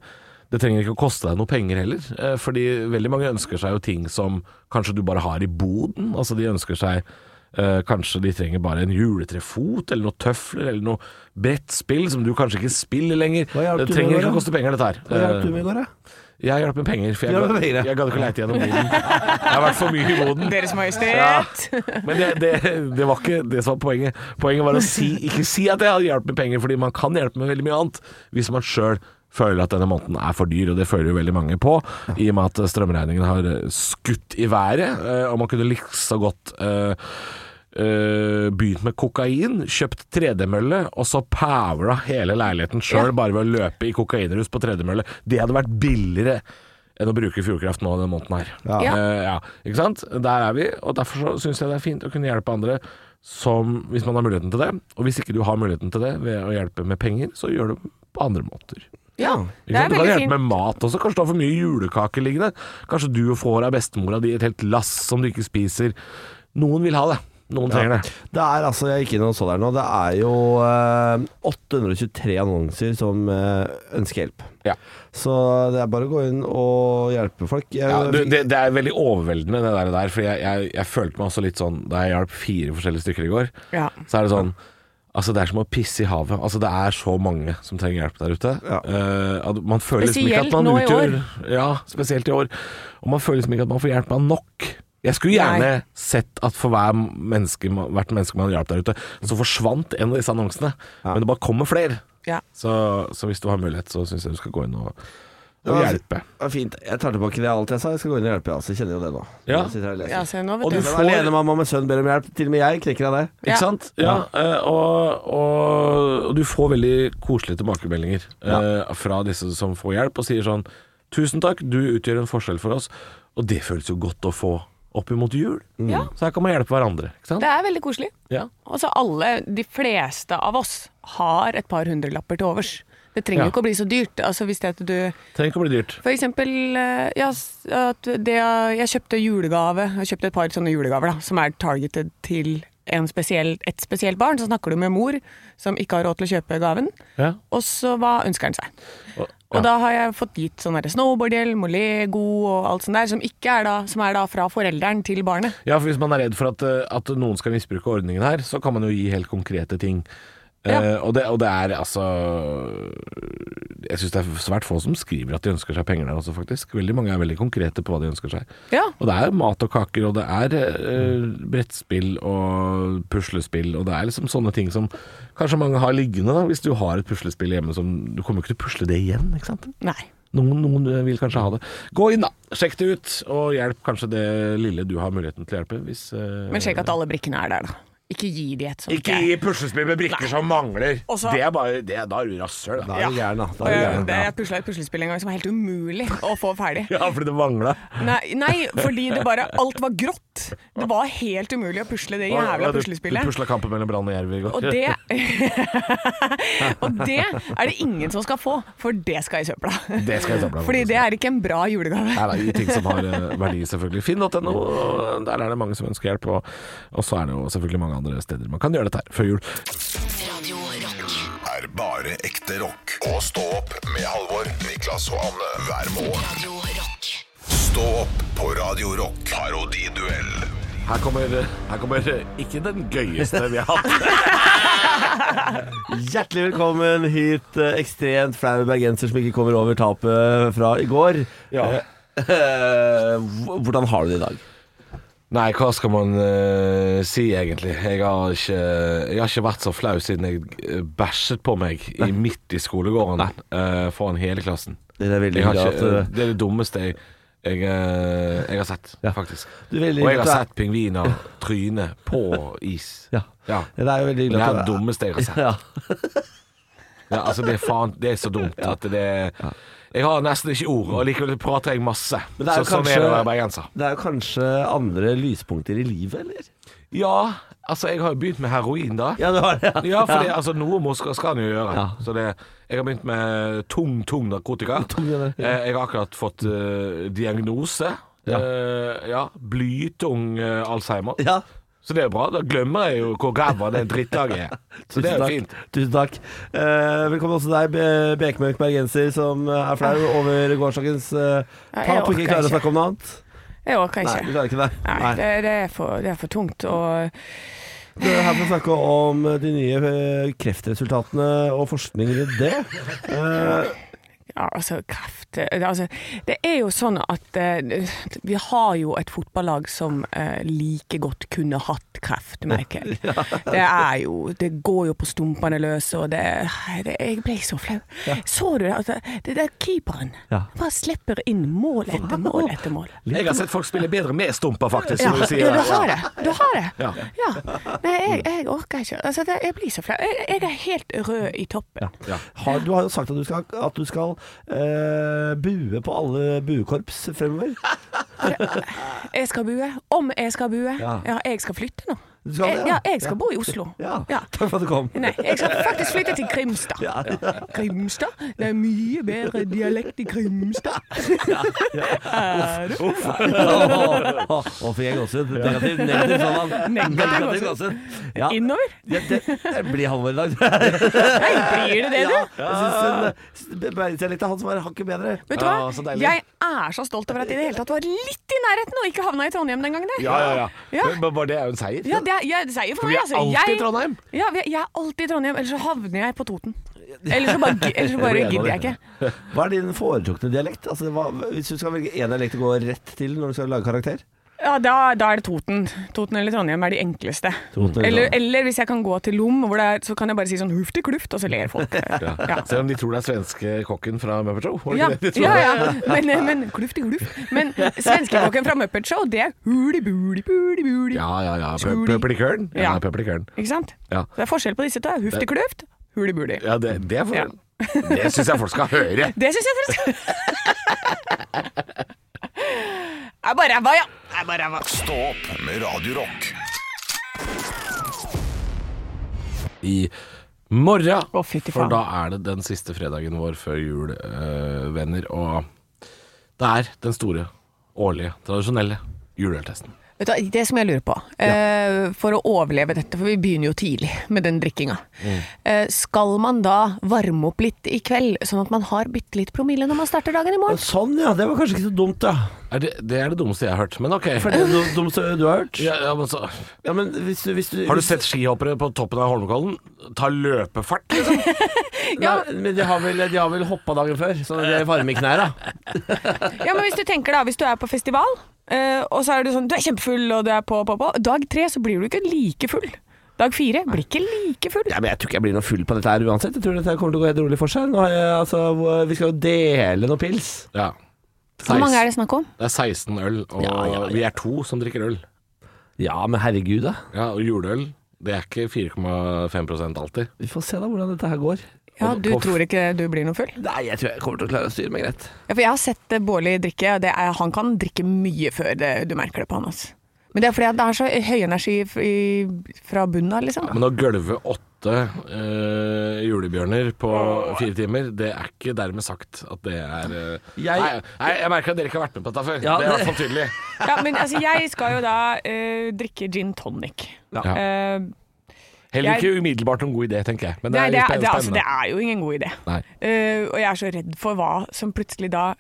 [SPEAKER 5] det trenger ikke å koste deg noe penger heller, eh, fordi veldig mange ønsker seg jo ting som kanskje du bare har i boden. Altså de ønsker seg eh, kanskje de trenger bare en juletrefot, eller noen tøfler, eller noe brettspill som du kanskje ikke spiller lenger.
[SPEAKER 3] Hva hjalp
[SPEAKER 5] Det
[SPEAKER 3] du med
[SPEAKER 5] trenger
[SPEAKER 3] da?
[SPEAKER 5] ikke å koste penger, dette her.
[SPEAKER 3] Hva hjalp
[SPEAKER 5] Eh,
[SPEAKER 3] du med i går, da?
[SPEAKER 5] jeg hjalp med penger, for jeg,
[SPEAKER 3] Hjalp med
[SPEAKER 5] gadd-
[SPEAKER 3] penger, ja.
[SPEAKER 5] jeg gadd ikke leite gjennom boden. Jeg har vært for mye i boden.
[SPEAKER 4] Deres Majestet.
[SPEAKER 5] Men det, det, det var ikke det som var poenget. Poenget var å si, ikke si at jeg hadde hjulpet med penger, fordi man kan hjelpe med veldig mye annet hvis man sjøl føler at denne måneden er for dyr, og det føler jo veldig mange på, i og med at strømregningen har skutt i været, eh, og man kunne likså godt eh, eh, begynt med kokain, kjøpt tredemølle, og så pævla hele leiligheten sjøl bare ved å løpe i kokainrus på tredemølle. Det hadde vært billigere enn å bruke Fjordkraft nå denne måneden her.
[SPEAKER 4] Ja.
[SPEAKER 5] Eh, ja, ikke sant? Der er vi, og derfor syns jeg det er fint å kunne hjelpe andre som, hvis man har muligheten til det. Og hvis ikke du har muligheten til det ved å hjelpe med penger, så gjør det på andre måter.
[SPEAKER 4] Ja,
[SPEAKER 5] Ikke sant? Du kan hjelpe med mat også. Kanskje du har for mye julekake liggende. Kanskje du får av bestemora di et helt lass som du ikke spiser. Noen vil ha det. Noen trenger det.
[SPEAKER 3] Det er altså, jeg gikk inn og så der nå, det er jo eh, 823 annonser som eh, ønsker hjelp.
[SPEAKER 5] Ja.
[SPEAKER 3] Så det er bare å gå inn og hjelpe folk. Jeg,
[SPEAKER 5] Ja, du, det, det er veldig overveldende det der, der for jeg, jeg, jeg følte meg også litt sånn da jeg hjalp fire forskjellige stykker i går.
[SPEAKER 4] Ja.
[SPEAKER 5] Så er det sånn Altså Det er som å pisse i havet. Altså Det er så mange som trenger hjelp der ute.
[SPEAKER 3] Ja.
[SPEAKER 5] Eh, at man føler liksom ikke at
[SPEAKER 4] Spesielt
[SPEAKER 5] man
[SPEAKER 4] nå i
[SPEAKER 5] utgjør Ja, spesielt i år. Og man føler liksom ikke at man får hjelp av nok. Jeg skulle gjerne
[SPEAKER 4] Nei.
[SPEAKER 5] sett at for hver menneske, hvert menneske man hjalp der ute, så forsvant en av disse annonsene. Men det bare kommer flere.
[SPEAKER 4] Ja.
[SPEAKER 5] Så, så hvis du har mulighet, så syns jeg du skal gå inn og, og
[SPEAKER 3] Ja, altså-
[SPEAKER 5] hjelpe.
[SPEAKER 3] Det var fint. Jeg tar tilbake det alt jeg sa. Jeg skal gå inn og hjelpe. Altså. Jeg kjenner jo det nå.
[SPEAKER 5] Ja.
[SPEAKER 3] Jeg sitter her og leser.
[SPEAKER 4] Ja, se nå,
[SPEAKER 3] Og
[SPEAKER 4] vet
[SPEAKER 3] du
[SPEAKER 4] du.
[SPEAKER 3] får alenemamma med sønn ber om hjelp. Til og med jeg knekker av det.
[SPEAKER 4] Ja.
[SPEAKER 5] Ikke sant? Ja, eh, og, og, og du får veldig koselige tilbakemeldinger eh, fra disse som får hjelp, og sier sånn Tusen takk, du utgjør en forskjell for oss. Og det føles jo godt å få opp imot jul.
[SPEAKER 4] Ja.
[SPEAKER 5] Så her kan man hjelpe hverandre. Ikke sant?
[SPEAKER 4] Det er veldig koselig.
[SPEAKER 5] Ja.
[SPEAKER 4] Altså alle, de fleste av oss har et par hundrelapper til overs. Det trenger jo
[SPEAKER 5] Ja.
[SPEAKER 4] ikke å bli så dyrt. Altså hvis det at du
[SPEAKER 5] Trenger ikke å bli dyrt.
[SPEAKER 4] For eksempel, eh, ja, s- at det, jeg kjøpte julegave, jeg kjøpte et par sånne julegaver da, som er targeted til en spesiell, et spesielt barn. Så snakker du med mor, som ikke har råd til å kjøpe gaven.
[SPEAKER 5] Ja.
[SPEAKER 4] Og så hva ønsker han seg?
[SPEAKER 5] Og,
[SPEAKER 4] Og
[SPEAKER 5] ja.
[SPEAKER 4] da har jeg fått gitt sånn derre snowboardhjelm og Lego og alt sånt der, som, ikke er da, som er da fra forelderen til barnet.
[SPEAKER 5] Ja, for hvis man er redd for at, eh, at noen skal misbruke ordningen her, så kan man jo gi helt konkrete ting.
[SPEAKER 4] Ja.
[SPEAKER 5] Eh, og, det, og det er altså Jeg syns det er svært få som skriver at de ønsker seg penger der også, faktisk. Veldig mange er veldig konkrete på hva de ønsker seg.
[SPEAKER 4] Ja.
[SPEAKER 5] Og det er mat og kaker, og det er eh, brettspill og puslespill, og det er liksom sånne ting som kanskje mange har liggende, da, hvis du har et puslespill hjemme som Du kommer jo ikke til å pusle det igjen, ikke sant?
[SPEAKER 4] Nei.
[SPEAKER 5] Noen, noen eh, vil kanskje ha det. Gå inn, da. Sjekk det ut, og hjelp kanskje det lille du har muligheten til å hjelpe. Hvis, eh,
[SPEAKER 4] Men sjekk at alle brikkene er der, da. Ikke gi de et sånt.
[SPEAKER 5] Ikke gi puslespill med brikker som mangler.
[SPEAKER 4] Og så-
[SPEAKER 5] det er bare, det, er- da er du rasshøl, da.
[SPEAKER 3] Da er du gæren, da. da, er du
[SPEAKER 4] Øh,
[SPEAKER 3] gæren,
[SPEAKER 4] det- Jeg pusla et puslespill en gang som var helt umulig å få ferdig.
[SPEAKER 5] Ja, fordi det mangla.
[SPEAKER 4] Nei, nei, fordi det bare Alt var grått. Det var helt umulig å pusle det jævla
[SPEAKER 5] Du, du
[SPEAKER 4] puslespillet.
[SPEAKER 5] pusla kampen mellom Brann og Jerv i går.
[SPEAKER 4] Og det Og det er det ingen som skal få, for det skal i søpla.
[SPEAKER 5] Det skal i søpla,
[SPEAKER 4] Fordi
[SPEAKER 5] faktisk.
[SPEAKER 4] det er ikke en bra julegave.
[SPEAKER 5] Nei, nei, ting som har eh, verdi, selvfølgelig. Finn.no, og der er det mange som ønsker hjelp. Og, og så er det jo selvfølgelig mange andre steder man kan gjøre dette her før jul.
[SPEAKER 1] Radio Rock.
[SPEAKER 2] er bare ekte rock. Og stå opp med Halvor, Niklas og Anne hver morgen.
[SPEAKER 1] Radio Rock.
[SPEAKER 2] Stå opp på Radio Rock. Parodiduell.
[SPEAKER 5] Her kommer, her kommer eh, ikke den gøyeste vi har hatt.
[SPEAKER 3] da. Hjertelig velkommen hit, eh, ekstremt flau bergenser som ikke kommer over tapet fra i går.
[SPEAKER 5] Ja.
[SPEAKER 3] Eh, h- Hvordan har du det i dag?
[SPEAKER 5] Nei, hva skal man eh, si egentlig? Jeg har, ikke, jeg har ikke vært så flau siden jeg eh, bæsjet på meg i, midt i skolegården eh, foran hele klassen.
[SPEAKER 3] Det er veldig
[SPEAKER 5] Jeg har
[SPEAKER 3] hyggelig
[SPEAKER 5] ikke,
[SPEAKER 3] at eh, du-
[SPEAKER 5] det er det dummeste jeg, jeg, eh, jeg har sett,
[SPEAKER 3] Ja.
[SPEAKER 5] faktisk.
[SPEAKER 3] Du er veldig
[SPEAKER 5] Og jeg
[SPEAKER 3] glad
[SPEAKER 5] har
[SPEAKER 3] at
[SPEAKER 5] sett pingviner tryne på is.
[SPEAKER 3] Ja.
[SPEAKER 5] Ja.
[SPEAKER 3] Det er jo veldig
[SPEAKER 5] Det
[SPEAKER 3] hyggelig
[SPEAKER 5] er
[SPEAKER 3] at
[SPEAKER 5] det
[SPEAKER 3] du
[SPEAKER 5] dummeste jeg har sett.
[SPEAKER 3] Ja.
[SPEAKER 5] Ja, altså det, er faen, det er så dumt at det Jeg har nesten ikke ord, og likevel prater jeg masse.
[SPEAKER 3] Men det er
[SPEAKER 5] så
[SPEAKER 3] jo
[SPEAKER 5] sånn er det å
[SPEAKER 3] kanskje-
[SPEAKER 5] være bergenser.
[SPEAKER 3] Det er jo kanskje andre lyspunkter i livet, eller?
[SPEAKER 5] Ja, altså jeg har jo begynt med heroin, da.
[SPEAKER 3] Ja, du har det. ja.
[SPEAKER 5] Ja, for det, altså, noe må skal, skal en jo gjøre.
[SPEAKER 3] Ja.
[SPEAKER 5] Så det, jeg har begynt med tung, tung narkotika.
[SPEAKER 3] Tung, ja, det.
[SPEAKER 5] Eh, Jeg har akkurat fått eh, diagnose.
[SPEAKER 3] Ja.
[SPEAKER 5] Eh, ja blytung eh, Alzheimer.
[SPEAKER 3] Ja.
[SPEAKER 5] Så det er bra. Da glemmer jeg jo hvor ræva det drittlaget er. Så det er jo fint.
[SPEAKER 3] Tusen takk. Eh, velkommen også deg, Be- bekmørk bergenser, som eh, er flau over gårsdagens eh,
[SPEAKER 4] Ja, jeg
[SPEAKER 3] tap og
[SPEAKER 4] orker
[SPEAKER 3] ikke klarer å
[SPEAKER 4] ikke.
[SPEAKER 3] snakke om noe annet.
[SPEAKER 4] Jeg orker
[SPEAKER 3] Nei, du
[SPEAKER 4] ikke.
[SPEAKER 3] klarer ikke det.
[SPEAKER 4] Nei,
[SPEAKER 3] Nei.
[SPEAKER 4] det, det, er for, det er for tungt. Og
[SPEAKER 3] Du er her for å snakke om eh, de nye eh, kreftresultatene og forskning rundt det. Eh,
[SPEAKER 4] ja, altså kreft det, altså, det er jo sånn at eh, vi har jo et fotballag som eh, like godt kunne hatt kreft, merker jeg. Det er jo Det går jo på stumpene løs, og det, det Jeg ble så flau. Så du det? Altså, det der keeperen
[SPEAKER 3] Ja.
[SPEAKER 4] bare slipper inn mål etter mål etter mål.
[SPEAKER 5] Jeg har sett folk spille bedre med stumper, faktisk.
[SPEAKER 4] Ja, ja,
[SPEAKER 5] som du sier.
[SPEAKER 4] du har det. Du har det.
[SPEAKER 5] Ja.
[SPEAKER 4] Ja. Nei, jeg, jeg orker ikke. Altså, det, jeg blir så flau. Jeg, jeg er helt rød i toppen.
[SPEAKER 3] har, du har jo sagt at du skal, at du skal eh, bue på alle buekorps fremover.
[SPEAKER 4] Jeg skal bue. Om jeg skal bue.
[SPEAKER 3] Ja.
[SPEAKER 4] Ja, jeg skal flytte nå.
[SPEAKER 3] Du skal det,
[SPEAKER 4] jeg,
[SPEAKER 3] ja.
[SPEAKER 4] Eh, ja, jeg skal bo i Oslo.
[SPEAKER 3] Ja. Takk for at du kom.
[SPEAKER 4] Nei, jeg skal faktisk flytte til Grimstad. Grimstad? Det er mye bedre dialekt i Grimstad. Er du?
[SPEAKER 3] Å, fikk jeg gåsehud? Negativ, negativ sånn.
[SPEAKER 4] Negativ
[SPEAKER 3] gåsehud. Ja.
[SPEAKER 4] Innover?
[SPEAKER 3] Ja, det, det blir Halvor i dag. Ja,
[SPEAKER 4] Nei, blir det det,
[SPEAKER 3] jeg
[SPEAKER 4] du?
[SPEAKER 3] synes den, eh, Bergensdialekten er han som er hakket bedre.
[SPEAKER 4] Vet du
[SPEAKER 5] Ja, så
[SPEAKER 4] hva?
[SPEAKER 5] deilig.
[SPEAKER 4] Jeg er så stolt over at jeg i det hele tatt var litt i nærheten og ikke havna i Trondheim den gangen der.
[SPEAKER 5] Ja, ja, ja.
[SPEAKER 4] Ja.
[SPEAKER 5] Men bare det er jo en seier.
[SPEAKER 4] Ja, det, jeg, jeg, det sier jo for
[SPEAKER 5] For
[SPEAKER 4] meg,
[SPEAKER 5] vi er
[SPEAKER 4] altså.
[SPEAKER 5] alltid
[SPEAKER 4] jeg,
[SPEAKER 5] i Trondheim.
[SPEAKER 4] Ja, vi er, jeg er alltid i Trondheim, ellers så havner jeg på Toten. Ellers så bare, ellers så bare
[SPEAKER 5] enig i
[SPEAKER 4] gidder jeg
[SPEAKER 5] det.
[SPEAKER 4] ikke.
[SPEAKER 3] Hva er din foretrukne dialekt? Altså, hva, hvis du skal velge én dialekt å gå rett til når du skal lage karakter?
[SPEAKER 4] Ja, da, da er det Toten. Toten eller Trondheim er de enkleste.
[SPEAKER 3] Toten eller
[SPEAKER 4] Eller,
[SPEAKER 3] Trondheim.
[SPEAKER 4] eller hvis jeg kan gå til Lom, hvor det er, så kan jeg bare si sånn hufti kluft, og så ler folk. Ja, ja.
[SPEAKER 5] Selv om de tror det er svenske kokken fra Muppet Show. var det
[SPEAKER 4] Ja,
[SPEAKER 5] ikke det de tror?
[SPEAKER 4] ja, Men, eh, men klufti kluft. Men svenskekokken fra Muppet Show, det er huli buli buli buli.
[SPEAKER 5] ja, ja. ja. Pø-
[SPEAKER 4] Skuli.
[SPEAKER 5] Pøpelikøren. Ja,
[SPEAKER 4] Ja.
[SPEAKER 5] pøpelikøren.
[SPEAKER 4] Ikke sant?
[SPEAKER 5] Ja.
[SPEAKER 4] Så Det er forskjell på disse to. Hufti kluft, huli buli.
[SPEAKER 5] Ja, det, det, er for- det syns jeg folk skal høre.
[SPEAKER 4] Det syns jeg dere skal Jeg bare ræva, ja. Jeg bare ræva.
[SPEAKER 2] Stå opp med Radio Rock.
[SPEAKER 5] I morgen.
[SPEAKER 4] Å, fytti
[SPEAKER 5] For
[SPEAKER 4] faen.
[SPEAKER 5] da er det den siste fredagen vår før jul, øh, venner. Og det er den store, årlige, tradisjonelle juleøltesten.
[SPEAKER 4] Vet du, hva, det som jeg lurer på, eh, for å overleve dette, for vi begynner jo tidlig med den drikkinga.
[SPEAKER 5] Mm.
[SPEAKER 4] Eh, skal man da varme opp litt i kveld, sånn at man har bitte litt promille når man starter dagen i morgen?
[SPEAKER 3] Sånn, ja. Det var kanskje ikke så dumt, da.
[SPEAKER 5] Er det, det er det dummeste jeg har hørt, men ok.
[SPEAKER 3] For det er det dummeste du har hørt?
[SPEAKER 5] Ja, ja, men så,
[SPEAKER 3] Ja, men hvis du, hvis du
[SPEAKER 5] har du sett skihoppere på toppen av Holmenkollen ta løpefart? Liksom?
[SPEAKER 3] Ja, men de har vel, de har vel hoppa dagen før, så de er varme i knærne.
[SPEAKER 4] Ja, men hvis du tenker da, hvis du er på festival, eh, og så er du sånn, du er kjempefull, og du er på, på, på. Dag tre så blir du ikke like full. Dag fire blir ikke like full.
[SPEAKER 3] Ja, men jeg tror ikke jeg blir noe full på dette her uansett. Jeg tror dette kommer til å gå helt rolig for seg. Nå har jeg, altså, vi skal jo dele noen pils.
[SPEAKER 5] Ja.
[SPEAKER 4] Hvor mange er det snakk om?
[SPEAKER 5] Det er 16 øl, og
[SPEAKER 3] Ja, ja, ja.
[SPEAKER 5] vi er to som drikker øl.
[SPEAKER 3] Ja, men herregud, da.
[SPEAKER 5] Ja, og juleøl, det er ikke 4,5 alltid.
[SPEAKER 3] Vi får se da hvordan dette her går.
[SPEAKER 4] Ja,
[SPEAKER 5] Og
[SPEAKER 4] Du
[SPEAKER 5] på-
[SPEAKER 4] tror ikke du blir noe full?
[SPEAKER 3] Nei, jeg tror jeg kommer til å klare å styre meg greit.
[SPEAKER 4] Ja, for jeg har sett eh, Bårli drikke, og det er, han kan drikke mye før det, du merker det på han. Altså. Men det er fordi at det er så høy energi f- i, fra bunnen av, liksom.
[SPEAKER 5] Men å gølve åtte eh, julebjørner på fire timer, det er ikke dermed sagt at det er eh,
[SPEAKER 3] Jeg-
[SPEAKER 5] nei, nei, jeg merker at dere ikke har vært med på dette før.
[SPEAKER 3] Ja,
[SPEAKER 5] det er i
[SPEAKER 3] det-
[SPEAKER 5] hvert fall tydelig.
[SPEAKER 4] Ja, men altså, jeg skal jo da eh, drikke gin tonic.
[SPEAKER 3] Ja.
[SPEAKER 4] Eh,
[SPEAKER 5] Heller
[SPEAKER 4] Jeg-
[SPEAKER 5] ikke umiddelbart noen god idé, tenker jeg. Men det
[SPEAKER 4] nei,
[SPEAKER 5] er
[SPEAKER 4] det
[SPEAKER 5] litt
[SPEAKER 4] er, det, er, altså, det
[SPEAKER 5] spennende.
[SPEAKER 4] er jo ingen god idé.
[SPEAKER 5] Nei.
[SPEAKER 4] Eh, og jeg er så redd for hva som plutselig da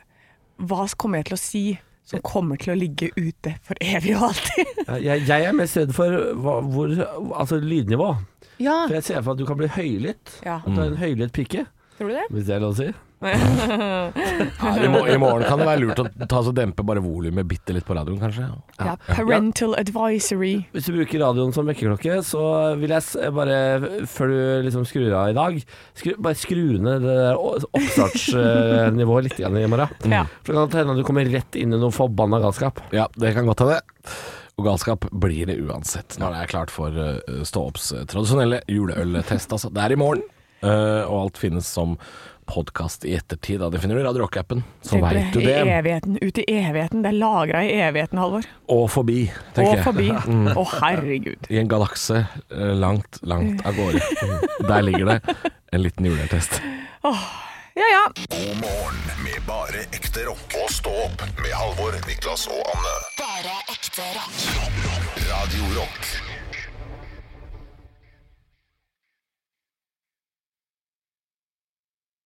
[SPEAKER 4] Hva kommer jeg til å si som kommer til å ligge ute for evig og alltid?
[SPEAKER 3] Jeg, jeg er mest redd for hva, hvor, altså lydnivå.
[SPEAKER 4] Ja.
[SPEAKER 3] For jeg ser for meg at du kan bli høylytt.
[SPEAKER 4] ja.
[SPEAKER 3] At du er en høylytt pike,
[SPEAKER 4] Tror du det?
[SPEAKER 3] Mm. hvis det er lov å si.
[SPEAKER 5] Ja, i, mo- I morgen kan det være lurt å ta så dempe bare volumet bitte litt på radioen, kanskje.
[SPEAKER 4] Ja. Parental advisory.
[SPEAKER 3] Hvis du bruker radioen som vekkerklokke, så vil jeg s- bare, før du liksom skrur av i dag, skru, bare skru ned det der oppstartsnivået litt igjen i morgen.
[SPEAKER 4] Ja.
[SPEAKER 3] For det kan hende at du kommer rett inn i noe forbanna galskap.
[SPEAKER 5] Ja, det kan godt hende. Og galskap blir det uansett når det er klart for eh, Stå-opps eh, tradisjonelle juleøltest. Altså. Det er i morgen, eh, og alt finnes som podkast i ettertid. Da. Det finner du i Radio Rock-appen, så
[SPEAKER 4] Tenk på
[SPEAKER 5] veit du
[SPEAKER 4] I
[SPEAKER 5] det.
[SPEAKER 4] evigheten, ut i evigheten. Det er lagra i evigheten, Halvor.
[SPEAKER 5] Og forbi,
[SPEAKER 4] Og
[SPEAKER 5] tenker jeg. Mm.
[SPEAKER 4] forbi. Å, herregud.
[SPEAKER 5] I en galakse eh, langt, langt av gårde. Der ligger det en liten juleøltest.
[SPEAKER 4] Ja ja.
[SPEAKER 2] God morgen med bare ekte rock. Og stå opp med Halvor, Niklas og Anne.
[SPEAKER 1] Bare ekte rock.
[SPEAKER 2] Radio Rock.